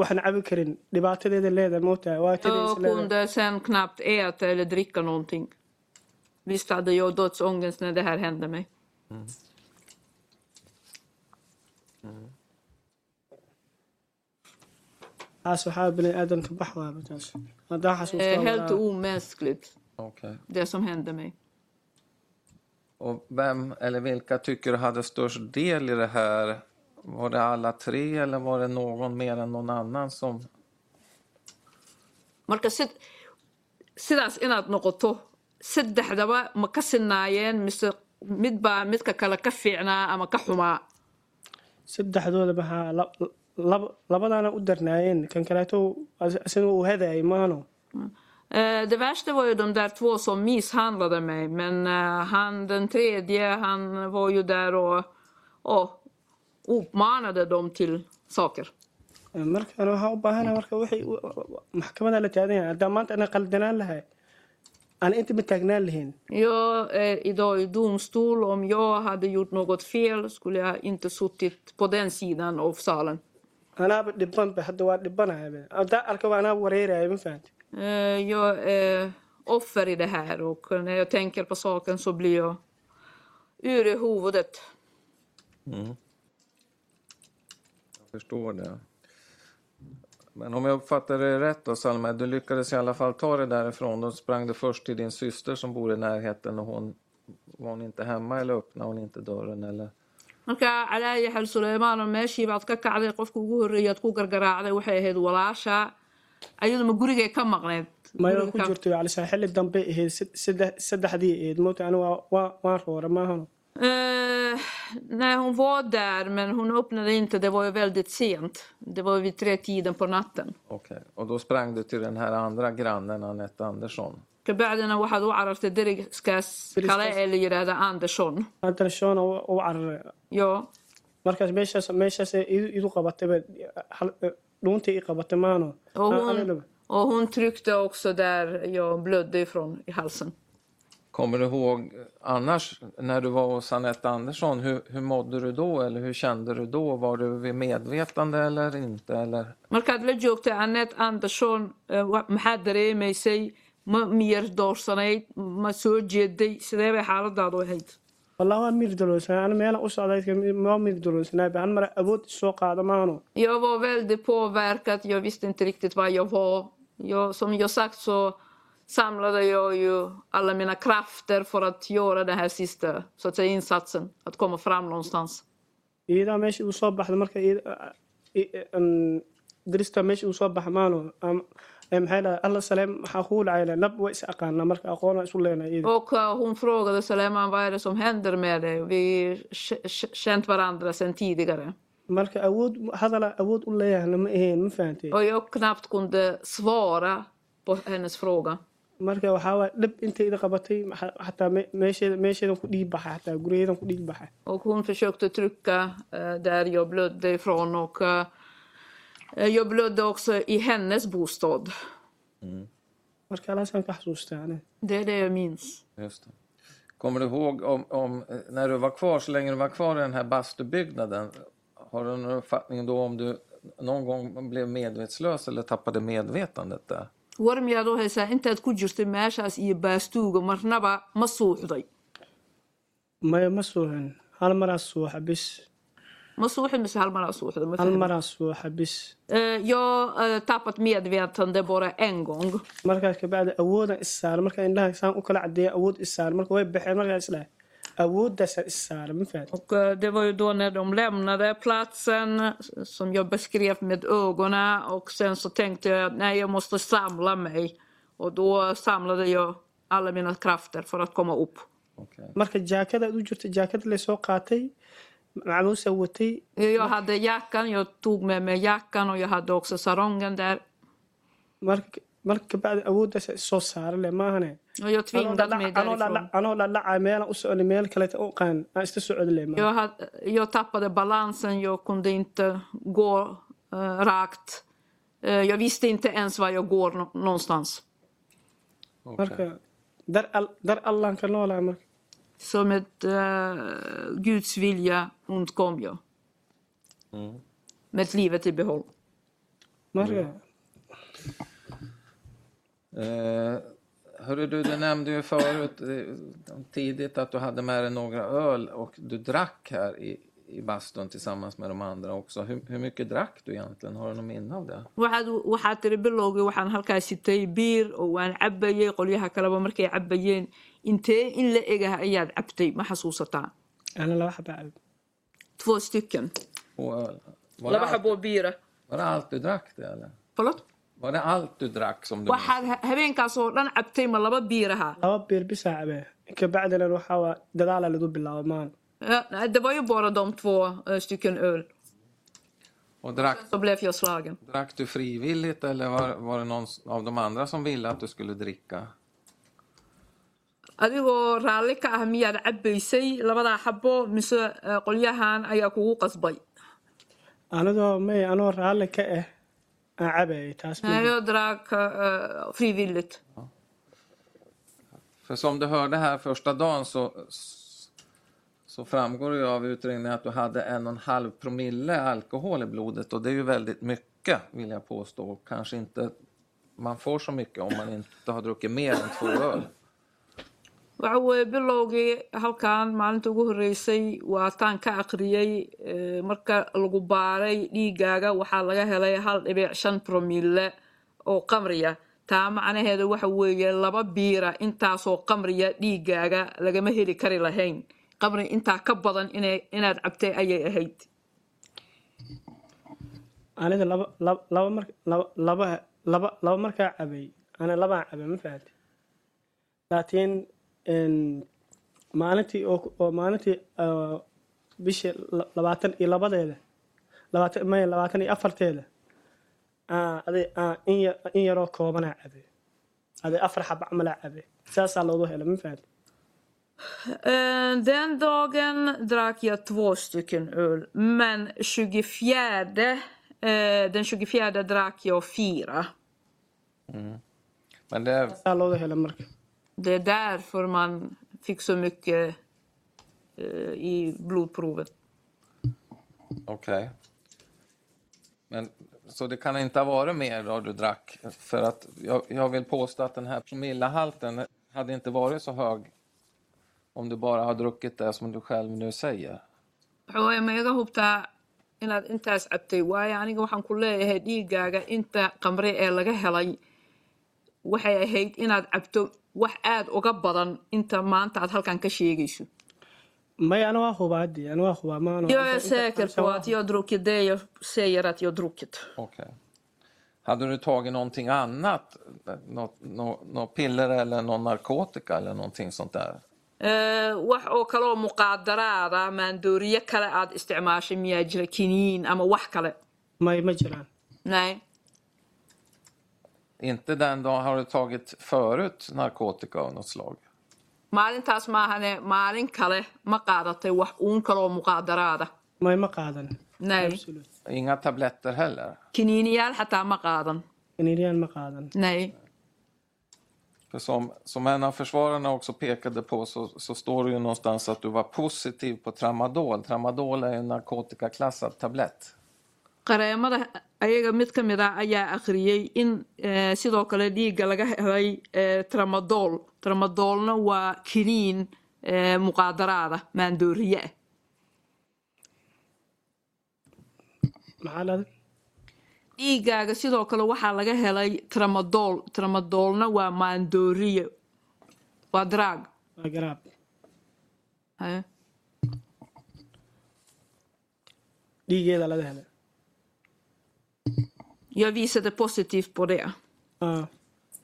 waxna cabi karin dhibaatadeeda leedahay mootahay waa Jag tadays leedahay kunde sen knappt äta eller dricka någonting. Visst hade jag dödsångest när det här hände mig. taas waxaa bini aadanka bax waaba taas haddaan Eh, xasuustaa helt walaa- omänskligt, Okej. det som hände mig. Och vem eller vilka tycker du hade störst del i det här? Var det alla tre eller var det någon mer än någon annan som... marka sid sidaas inaad noqoto saddexdaba ma ka sinaayeen mise midbaa midka kale ka fiicnaa ama ka xumaa saddexdooda maxaa la- lab- labadaana u darnaayeen kan kaleeto isna uu hadaayay maano Eh, Det värsta var ju de där två som misshandlade mig, men eh, han den tredje, han var ju där och, och uppmanade dem till saker. markaan waxaan u baahanahay marka wixii u- maxkamadda la taadan yahay haddaan maanta ana qaldanaan lahay aan inta ma taagnaan lahayn Jag är idag eh, i domstol. Om jag hade gjort något fel skulle jag inte suttit på den sidan av salen. anaaba dhibanba hadda waa dhibanayaba haddaan arkaba anaaba wareeraya ma fahamti Eh, Jag är offer i det här och när jag tänker på saken så blir jag ur i huvudet. Jag förstår det. Men om jag uppfattar det rätt då, Salma, du lyckades i alla fall ta dig därifrån. Då sprang du först till din syster som bor i närheten och hon... Var hon inte hemma eller öppnade hon inte dörren eller? marka calaayi xal suleymaanoo meeshii baad ka kacday qofka ugu horreeyaad ku gargaraacday waxay ahayd walaasha ayaduma gurigay ka maqneyd maya Guriga ku ka- jirto alisaan xilli dambe ahayd sad- saddex- saddexdii ahayd moota anigu waa- waa- waan roora maahano Eh, nej, hon var där men hon öppnade inte. Det var ju väldigt sent. Det var vid tre tiden på natten. Okej. Och då sprang du till den här andra grannen, Anette Andersson. kabacdina waxaad u carartay deriskaas kale ee la yidhaahda anderson haddana shoona u u cararay yo markaas meeshaas meeshaas idu idu qabatay baa hal- dhuuntay i qabatay maahano Och Aan- aan hon, ilaba. och hon tryckte också där jag blödde ifrån i halsen. Kommer du ihåg annars när du var hos Anette Andersson, hur, hur mådde du då eller hur kände du då? Var du vid medvetande eller inte? Eller? Markaad la joogtay Annette Anderson, eh, wa- maxaad dareemaysay? Ma miyar doorsanayd? Ma soo jeeday? Sidee bay xaaladaadu ahayd? wallah waa miir daloolsanaa ana meela u socdaydka waa miir daloolsanaa baan mara awood soo qaada maahano Jag var väldigt påverkad. Jag visste inte riktigt vad jag var. Jag, som jag sagt så samlade jag ju alla mina krafter för att göra den här sista så att säga, insatsen, att komma fram någonstans. iyadaa meesha uu soo baxda marka iyada- i- an- dirista meesha uu soo baxa maahano Am- eh, maxay dhahay alla saleem waxaa kugu dhacayla nab way is aqaanaa marka aqoon waa isu leenahay iyada Och eh, hon frågade Suleiman vad är det som händer med dig? Vi k- k- känt varandra sedan tidigare. marka awood hadala awood u إيه، leeyahna ma ahayn ma fahantay Och jag knappt kunde svara på hennes fråga. marka waxaa waay dhib intayda qabatay maxa- xataa me- meesheeda meesheedan ku dhiig baxay xataa guryaheedan ku dhiig baxay Och hon försökte trycka eh, där jag blödde ifrån och eh, jag blödde också i hennes bostad. marka alaasaan ka xasuustaa aniga Det är det jag minns. Just det. Kommer du ihåg om, om, eh, när du var kvar, så länge du var kvar i den här bastubyggnaden, har du någon uppfattning då om du någon gång blev medvetslös eller tappade medvetandet där? Waram yaad u haysaa intaad ku jirtay meeshaas iyo baastuuga marnaba ma suuxday maya ma suuxin hal maraa suuxa bis ma suuxin mise hal maraa suuxda ma hal fahmin. maraa suuxa bis Eh, jag har tappat medvetande bara en gång. markaas kabacdi awoodaan issaaray markaa indhaha saan u kala cadeeya awood issaaray marka way baxeen markaa isdhahay awooddaasaan issaaray ma fahat Och eh, det var ju då när de lämnade platsen som jag beskrev med ögonen och sen så tänkte jag att nej, jag måste samla mig. Och då samlade jag alla mina krafter för att komma upp. Okej. marka jaakadaad u jirta jaakada laysoo qaatay macluusaa watay Jag hade jackan, jag tog med mig jackan och jag hade också sarongen där. marka marka kabacdi awooddaasa isoo saaray le maahane Och jag tvingade mig därifrån. anoo lalacaa meelaan u socday meel kaleta u qaan aan iska socod le Jag, hade, jag tappade balansen, jag kunde inte gå eh, rakt. Eh, jag visste inte ens var jag går nå- någonstans. Okej. marka dar al- dar allaan ka noolaa marka Som ett eh, Guds vilja undkom jag. Med livet i behåll. marka Eh, hörru du, du nämnde ju förut eh, tidigt att du hade med dig några öl och du drack här i, i bastun tillsammans med de andra också. Hur, hur mycket drack du egentligen? Har du något minne av det? waxaad waxaa tiri bilowgii waxaan halkaa sitay biir oo waan cabayay qolyaha kaleba markay cabayeen intee in la egaha ayaad cabtay ma xasuusataa ana laba xabaa två stycken Två öl? Var det, laba allt, xaboo biira var det allt du drack det eller? falot Var det allt du drack som du minns? waxaad ha- habeenkaas oo dhan cabtay ma laba biiraha laba beer bisaa cabee kabacdina waxaa waa dadaalaa lagu bilaaba maan Ja, det var ju bara de två eh, stycken öl Och drack, så blev jag slagen drack du frivilligt eller var, var det någon av de andra som ville att du skulle dricka? adigoo raalli ka ah miyaad cabaysay labadaa xabo mise eh, qolyahan ayaa kugu qasbay anadoo may anoo raalli ka ah aan cabayay taas ma- jag drack eh, frivilligt För som du hörde här första dagen så, så framgår det ju av utredningen att du hade en och en halv promille alkohol i blodet och det är ju väldigt mycket vill jag påstå. Kanske inte man får så mycket om man inte har druckit mer än två öl. waxa weeye bilowgii halkan maalinta ugu horreysay waataan ka akhriyey eh, marka lagu baaray dhiiggaaga waxaa laga helay hal dhibic shan promille oo qamriya taa macnaheedu waxa weeye laba biira intaasoo qamriya dhiiggaaga lagama heli kari lahayn qamri intaa ka badan inay- inaad cabtay ayay ahayd anida laba laba laba mar laba laba laba laba markaa cabay ana labaan cabay ma fahamti laakiin een, maalintii oo ku- oo maalintii ah, bishii la- labaatan iyo labadeeda labaatan maya labaatan iyo afarteeda aan adi- aan in ya- in yaroo koobanaa cabay adi afar xaba camalaa cabay saasaa loogu helay ma fahamti Eh, Den dagen drack jag två stycken öl. Men 24, eh, den 24 drack jag fyra. Men det, saasaa loogu helay marka Det är därför man fick så mycket eh, i blodprovet. okej. Men, så det kan inte ha varit mer då du drack? För att jag, jag vill påstå att den här promillehalten hade inte varit så hög om du bara har druckit det som du själv nu säger. Waxa weeye ma iga hubtaa inaad intaas cabtay waayo aniga waxaan ku leeyahay dhiiggaaga inta qamre ee laga helay waxay ahayd inaad cabto wax aada uga badan inta maanta aad halkan ka sheegayso maya ana waa hubaadii ana waa hubaa maano Jag är säker på att jag druckit det jag säger att jag druckit. Okej. Hade du tagit någonting annat? Något, något, något piller eller någon narkotika eller någonting sånt där? Eh, wax oo kale oo muqaadaraada maandooriye e kale aad isticmaashay miyaa jira kiniin ama wax kale may ma jiraan nay Inte den dagen har du tagit förut narkotika av något slag? maalintaas maahane maalin kale ma qaadatay wax uun kaloo muqaadaraada ma ima qaadan nay Absolut. Inga tabletter heller? kiniiniyaal xataa ma qaadan Kanadian ma qaadan nay För som, som en av försvararna också pekade på så, så står det ju någonstans att du var positiv på tramadol. Tramadol är ju en narkotikaklassad tablett. qareemada ayaga mid ka mid ah ayaa akhriyey in eh, sidoo kale dhiigga laga helay eh, tramadol tramadoolna waa kiniin eh, muqaadaraada maandooriye ah maxaa lahday dhiiggaaga sidoo kale waxaa laga helay tramadool tramadoolna waa maandooriye waa eh, drag waa garaab Haye. dhiigeeda laga helay Jag visade positivt på det. Ah,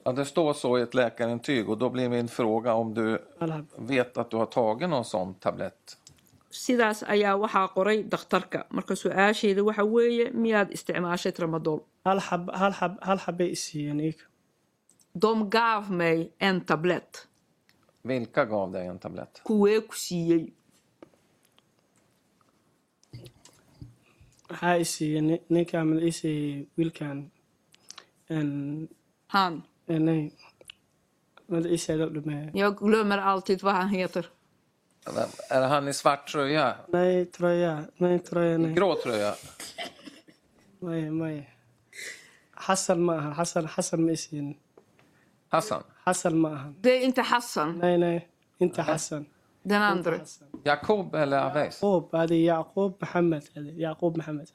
Ja, det står så i ett läkarintyg och då blir min fråga om du waa la hab- vet att du har tagit någon sån tablett? sidaas ayaa waxaa qoray dhakhtarka marka su-aashayda waxa weeye miyaad isticmaashay tramadol hal xab hal xab hal xabbay isiiyeen iga dom gav mig en tablett Vilka gav dig en tablett? kuwee ku siiyey waxaa isiiyey ni- ninkaa mid isiiyey wiilkan en- han en- nej mid isiiya gabdhimee jag glömmer alltid vad han heter Är det han i svart tröja? nej troya nej troya nej Grå tröja? may may xasan ma ahan xasan xasan ma isiin Hassan? xasan ma ahan det är inte Hassan nay nay inta xasan den andra Jakob eller Aves? yaquub hadi yacquub maxamed hadi yacquub maxamed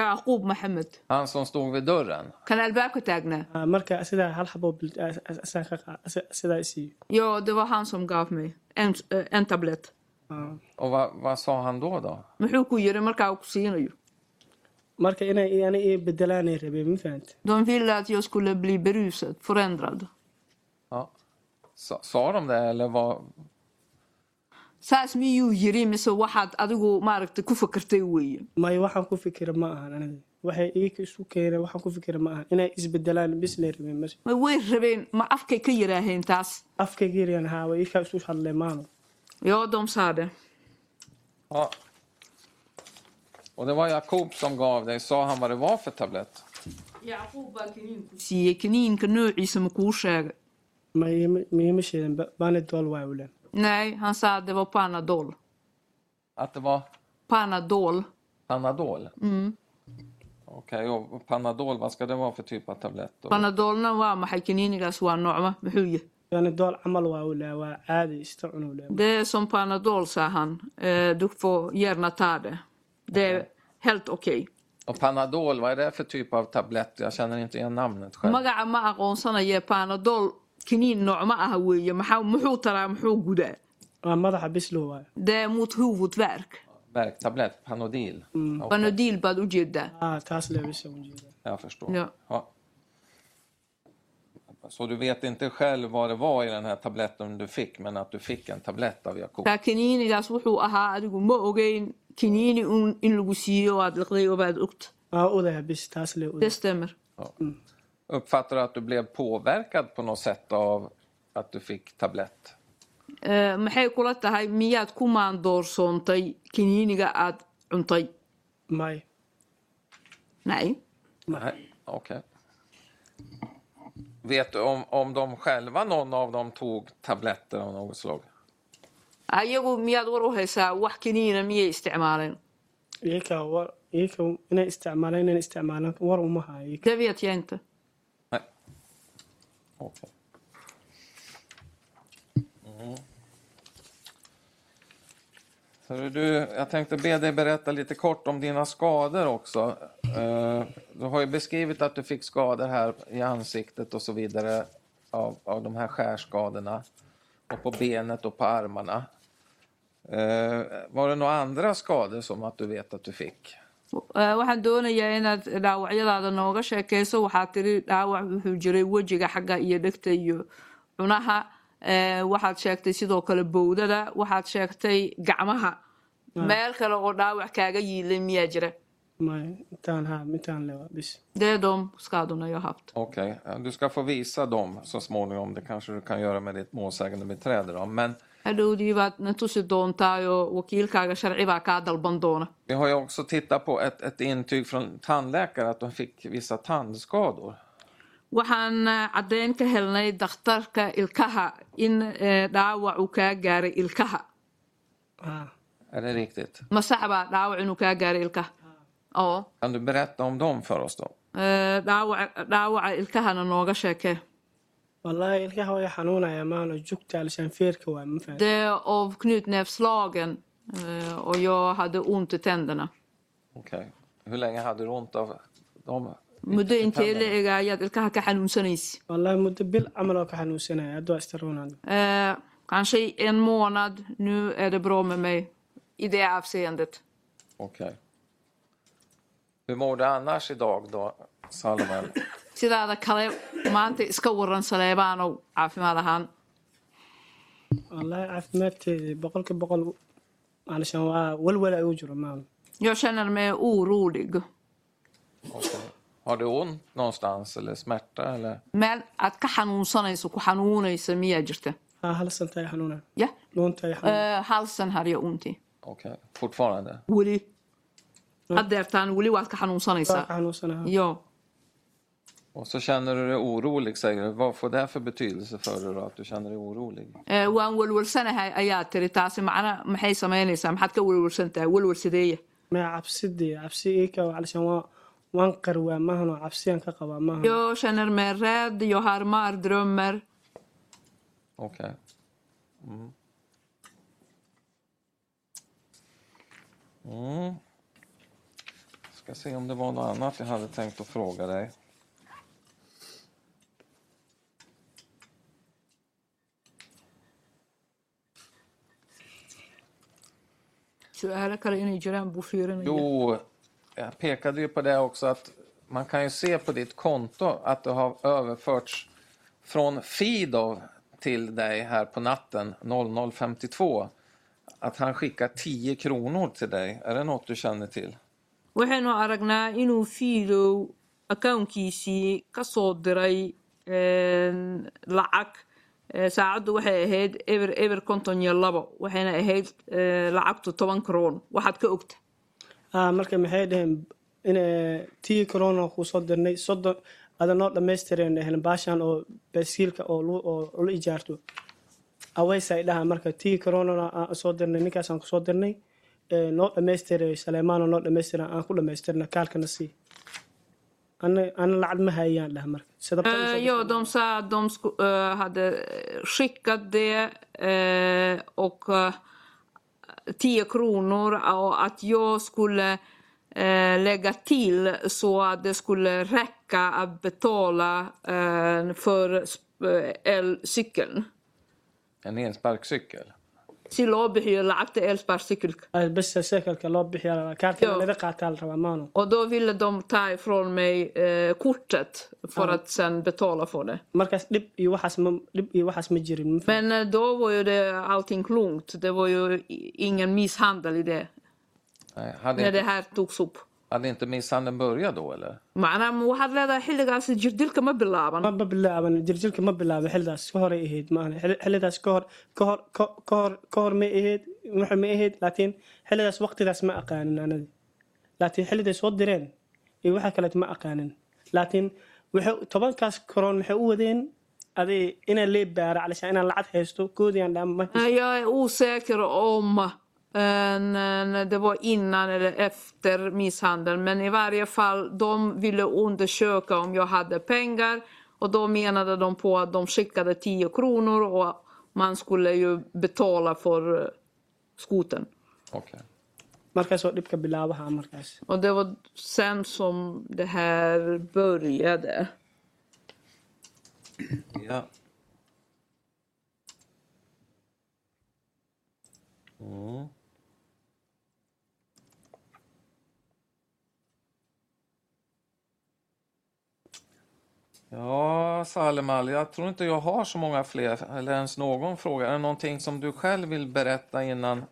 Yaqub Mohammed Han som stod vid dörren? kan albaabka taagnaa Ah, marka sidaa hal xaboo asaan ka qaa sidaa isiiyo ja det var han som gav mig en, eh, en tablett Ah. Och vad, vad sa han då? då? muxuu ku yiri markaa uu ku siinayo marka inay ana ii bedelaanay rabeen ma fahanta de ville att jag skulle bli berusad förändrad Ja. Sa, sa de det eller vad? saas miyuu yiri mise waxaad adigu maaragtay ku fakartay weeye may waxaan ku fikira ma ahan aniga waxay ii isu keeneen waxaan ku fikira ma ahan inay isbedelaan bislay rabeen mar ma way rabeen ma afkay ka yiraaheen taas afkaygeriyan haawa iikaa isu hadlay maalo joo de sa det Ja. Och det var Jakob som gav dig. Sa han vad det var för tablett? yacquub baa kiniinku siiyey kiniinka noociisa ma kuu sheegay ma iima- ma iima sheedan baanidool waa ulan nej han sa att det var panadol Att det var panadol Panadol? Okej, och Panadol, vad ska det vara för typ av tablett? Då? panadolna waa maxay kiniinigaas waa noocma muxuu yahay baanidool camal waa ulan waa caadi ista cunuu le det är som panadol sa han eh, du får gärna ta det det är helt okej Och Panadol, vad är det för typ av tablett? Jag känner inte igen namnet själv. magaca ma aqoonsanaye panadol kiniin noocma ah weeye maxaa muxuu taraa muxuu gudaa waa madaxa bislo waayo det är mot huvudvärk Värktablett, Panodil. Okej, panodil baad u jeedaa ah taas le bisa u jeedaa jag förstår. Ja. Så du vet inte själv vad det var i den här tabletten du fick, men att du fick en tablett av Jakob? taa kiniinigaas wuxuu ahaa adigu ma ogeyn kiniini uun in lagu siiyo aad liqday obaad ogta waa odaha bis taas le oda destemer Uppfattar du att du blev påverkad på något sätt av att du fick tablett? Eh, maxay kula tahay miyaad ku maandoorsoontay kiniiniga aad cuntay may nay Nej, okej. Vet du om, om de själva, någon av dem, tog tabletter av något slag? ayagu miyaad war u haysaa wax kiniina miyay isticmaaleen iyakaa war iyakaa inay isticmaalaan inay isticmaalaan war uma haayo iyaka daviat yeenta Nej. Okej. Mm. Hörru Du, jag tänkte be dig berätta lite kort om dina skador också. Eh, Du har ju beskrivit att du fick skador här i ansiktet och så vidare av, av de här skärskadorna. Och på benet och på armarna. Eh, Var det några andra skador som att du vet att du fick? Eh, waxaan doonayaa inaad dhaawacyadaada nooga sheekayso waxaa tiri dhaawac wuxuu jiray wejiga xagga iyo dhegta iyo cunaha Eh, waxaad sheegtay sidoo kale bowdada waxaad sheegtay gacmaha meel kale oo dhaawac kaaga yiilay miyaa jira Nej, inte han här, inte han lever. Visst. Det är de skadorna jag har haft. Okej, ja, du ska få visa dem så småningom. Det kanske du kan göra med ditt målsägande beträde då. Men Hadhowdii baad na tusi doontaa oo wakiilkaaga sharci baa kaa dalban doona vi har ju också tittat på ett, ett intyg från tandläkare att de fick vissa tandskador. waxaan eh, caddayn ka helnay dakhtarka ilkaha in eh, dhaawac uu kaa gaaray ilkaha Ah. Är det riktigt? ma sax baa dhaawac inuu kaa gaaray ilkaha oo Kan du berätta om dem för oss då? eh, dhaawaca dhaawaca ilkahana nooga sheekee Wallahi ilkaha way xanuunaya maano jugta alshanfeerka waa ma fahan det är av knutnävslagen eh, och jag hade ont i tänderna Okej. Hur länge hade du ont av dem? muddo intee la tänderna? ega ayaad ilkaha ka xanuunsanaysa Wallahi muddo bil camal oo ka xanuunsanaya hadduu astaroonaan Eh, kanske en månad. Nu är det bra med mig i det avseendet. Okej. Hur mår du annars idag då, Salomon? sidaada kale maanta iska waran saleebaanow caafimaad ahaan Wallahi caafimaadkeedii boqolka boqol maalashan waa walwala igu jiro maano jag känner mig orolig Okej. Har du ont någonstans eller smärta? Eller? meel aad ka xanuunsanayso ku xanuunaysa miyaa jirta haa halsanta ay xanuunaan ya dhuunta ay xanuunaan Eh, halsan har jag ont i Okej. Fortfarande? weli Ah, haddeertaan weli waad ka xanuunsanaysaa waa ka xanuunsanaa yo Och så känner du dig orolig, säger du. Vad får det för betydelse för dig då, att du känner dig orolig? Eh, waan welwelsanahay ayaa tiri taasi macna maxay samaynaysaa maxaad ka welwelsantahay welwelsadeeya maya cabsidii cabsi ii ka halshan waa waan qarwaa maahanoo cabsiyaan ka qabaa maahan jag känner mig rädd jag har mardrömmar Okej. Mm. Mm. Ska se om det var något annat jag hade tänkt att fråga dig. su-aalo kale inay jiraan buu fiirinaya Jo, jag pekade ju på det också att man kan ju se på ditt konto att det har överförts från Fidov till dig här på natten 00.52. Att han skickar 10 kronor till dig. Är det något du känner till? waxaynu aragnaa inuu fiidow akawnkiisii ka soo diray een, lacag Eh, saacaddu waxay ahayd eber eber konton iyo labo waxayna ahayd eh, lacagtu toban kroon waxaad ka ogta haa Ah, marka maxay dhaheen in tii corona kuusoo dirnay soddon ada noo dhammaystireen dhaheen baashan oo baaskiilka oo lu- oo ula ijaarto awaysa ay dhahaa marka tii corona aan soo dirnay ninkaasaan kusoo dirnay ee, noo dhammaystiray saleymaano noo dhammaystira aan ku dhammaystirna kaalkana sii ana ana lacag ma hayaan dhaha marka Eh, sadaqada soo dirtay. ja de sa att de sku, eh, hade skickat det eh, och eh, 10 kronor och att jag skulle eh, lägga till så att det skulle räcka att betala eh, för sp- eh, elcykeln. En insparkcykel? Si loo bixiyo lacagta elsparcykelka. Ay, bas sekelka eh, loo ah, bixiyaa kaalkana Joo. laga qaataa la rabaa maano Och då ville de ta ifrån mig eh, kortet för att sen betala för det. markaas dhib iyo waxaas ma dhib iyo waxaas ma jirin ma fahmi- Men eh, då var ju det allting lugnt. Det var ju i- ingen misshandel i det. Nej, hade, När det inte, här togs upp. hade inte misshandeln börjat då eller? macnaa ma waxaad leedahay xilligaas jirdilka ma bilaaban ma bilaaban jirjilka ma bilaabay xillidaas ka horay ahayd maahan Xili- xillidaas ka hor ka hor ka- ka hor ka hor ma ahayd wuxuu ma ahayd laakiin xillidaas waqtidaas ma aqaanin anadi laakiin xilliday soo direen iyo waxa kaleet ma aqaanin laakiin waxay tobankaas koroon waxay u wadeen aday inaan lee baara calashaan inaan lacag haysto koodiyaan dhaama markii Eh, jag är osäker om eh, när det var innan eller efter misshandeln men i varje fall de ville undersöka om jag hade pengar och då menade de på att de skickade 10 kronor och man skulle ju betala för eh, skoten. Okej. markaasoo dhibka bilaabaha markaas Och det var sen som det här började. Ja. Mm. Ja, Salemal, jag tror inte jag har så många fler, eller ens någon fråga. Är det någonting som du själv vill berätta innan,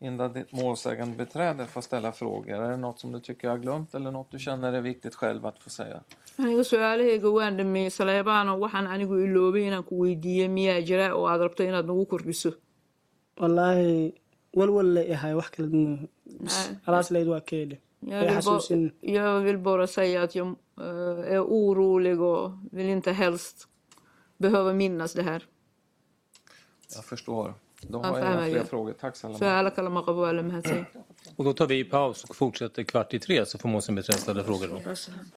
innan ditt målsägande beträder får ställa frågor. Är det något som du tycker jag har glömt eller något du känner är viktigt själv att få säga? aniga su-aalahayga waan dhameeyey saleebahana waxaan anigu iloobay inaan ku weydiiyey miyaa jira oo aad rabto inaad nagu kordhiso wallaahi walwal la ahay wax kala duwan alaasleyd waa keedhe Ja, Ee det Hassusin. var, jag vill bara säga att jag eh, är orolig och vill inte helst behöva minnas det här. Jag förstår. Då Ja, har så jag här inga var fler det. frågor. Tack Salama. Så alla kallar mig Rabou Alem Hassan. Och då tar vi paus och fortsätter kvart i tre så får målsägandebiträdet ställa frågor då.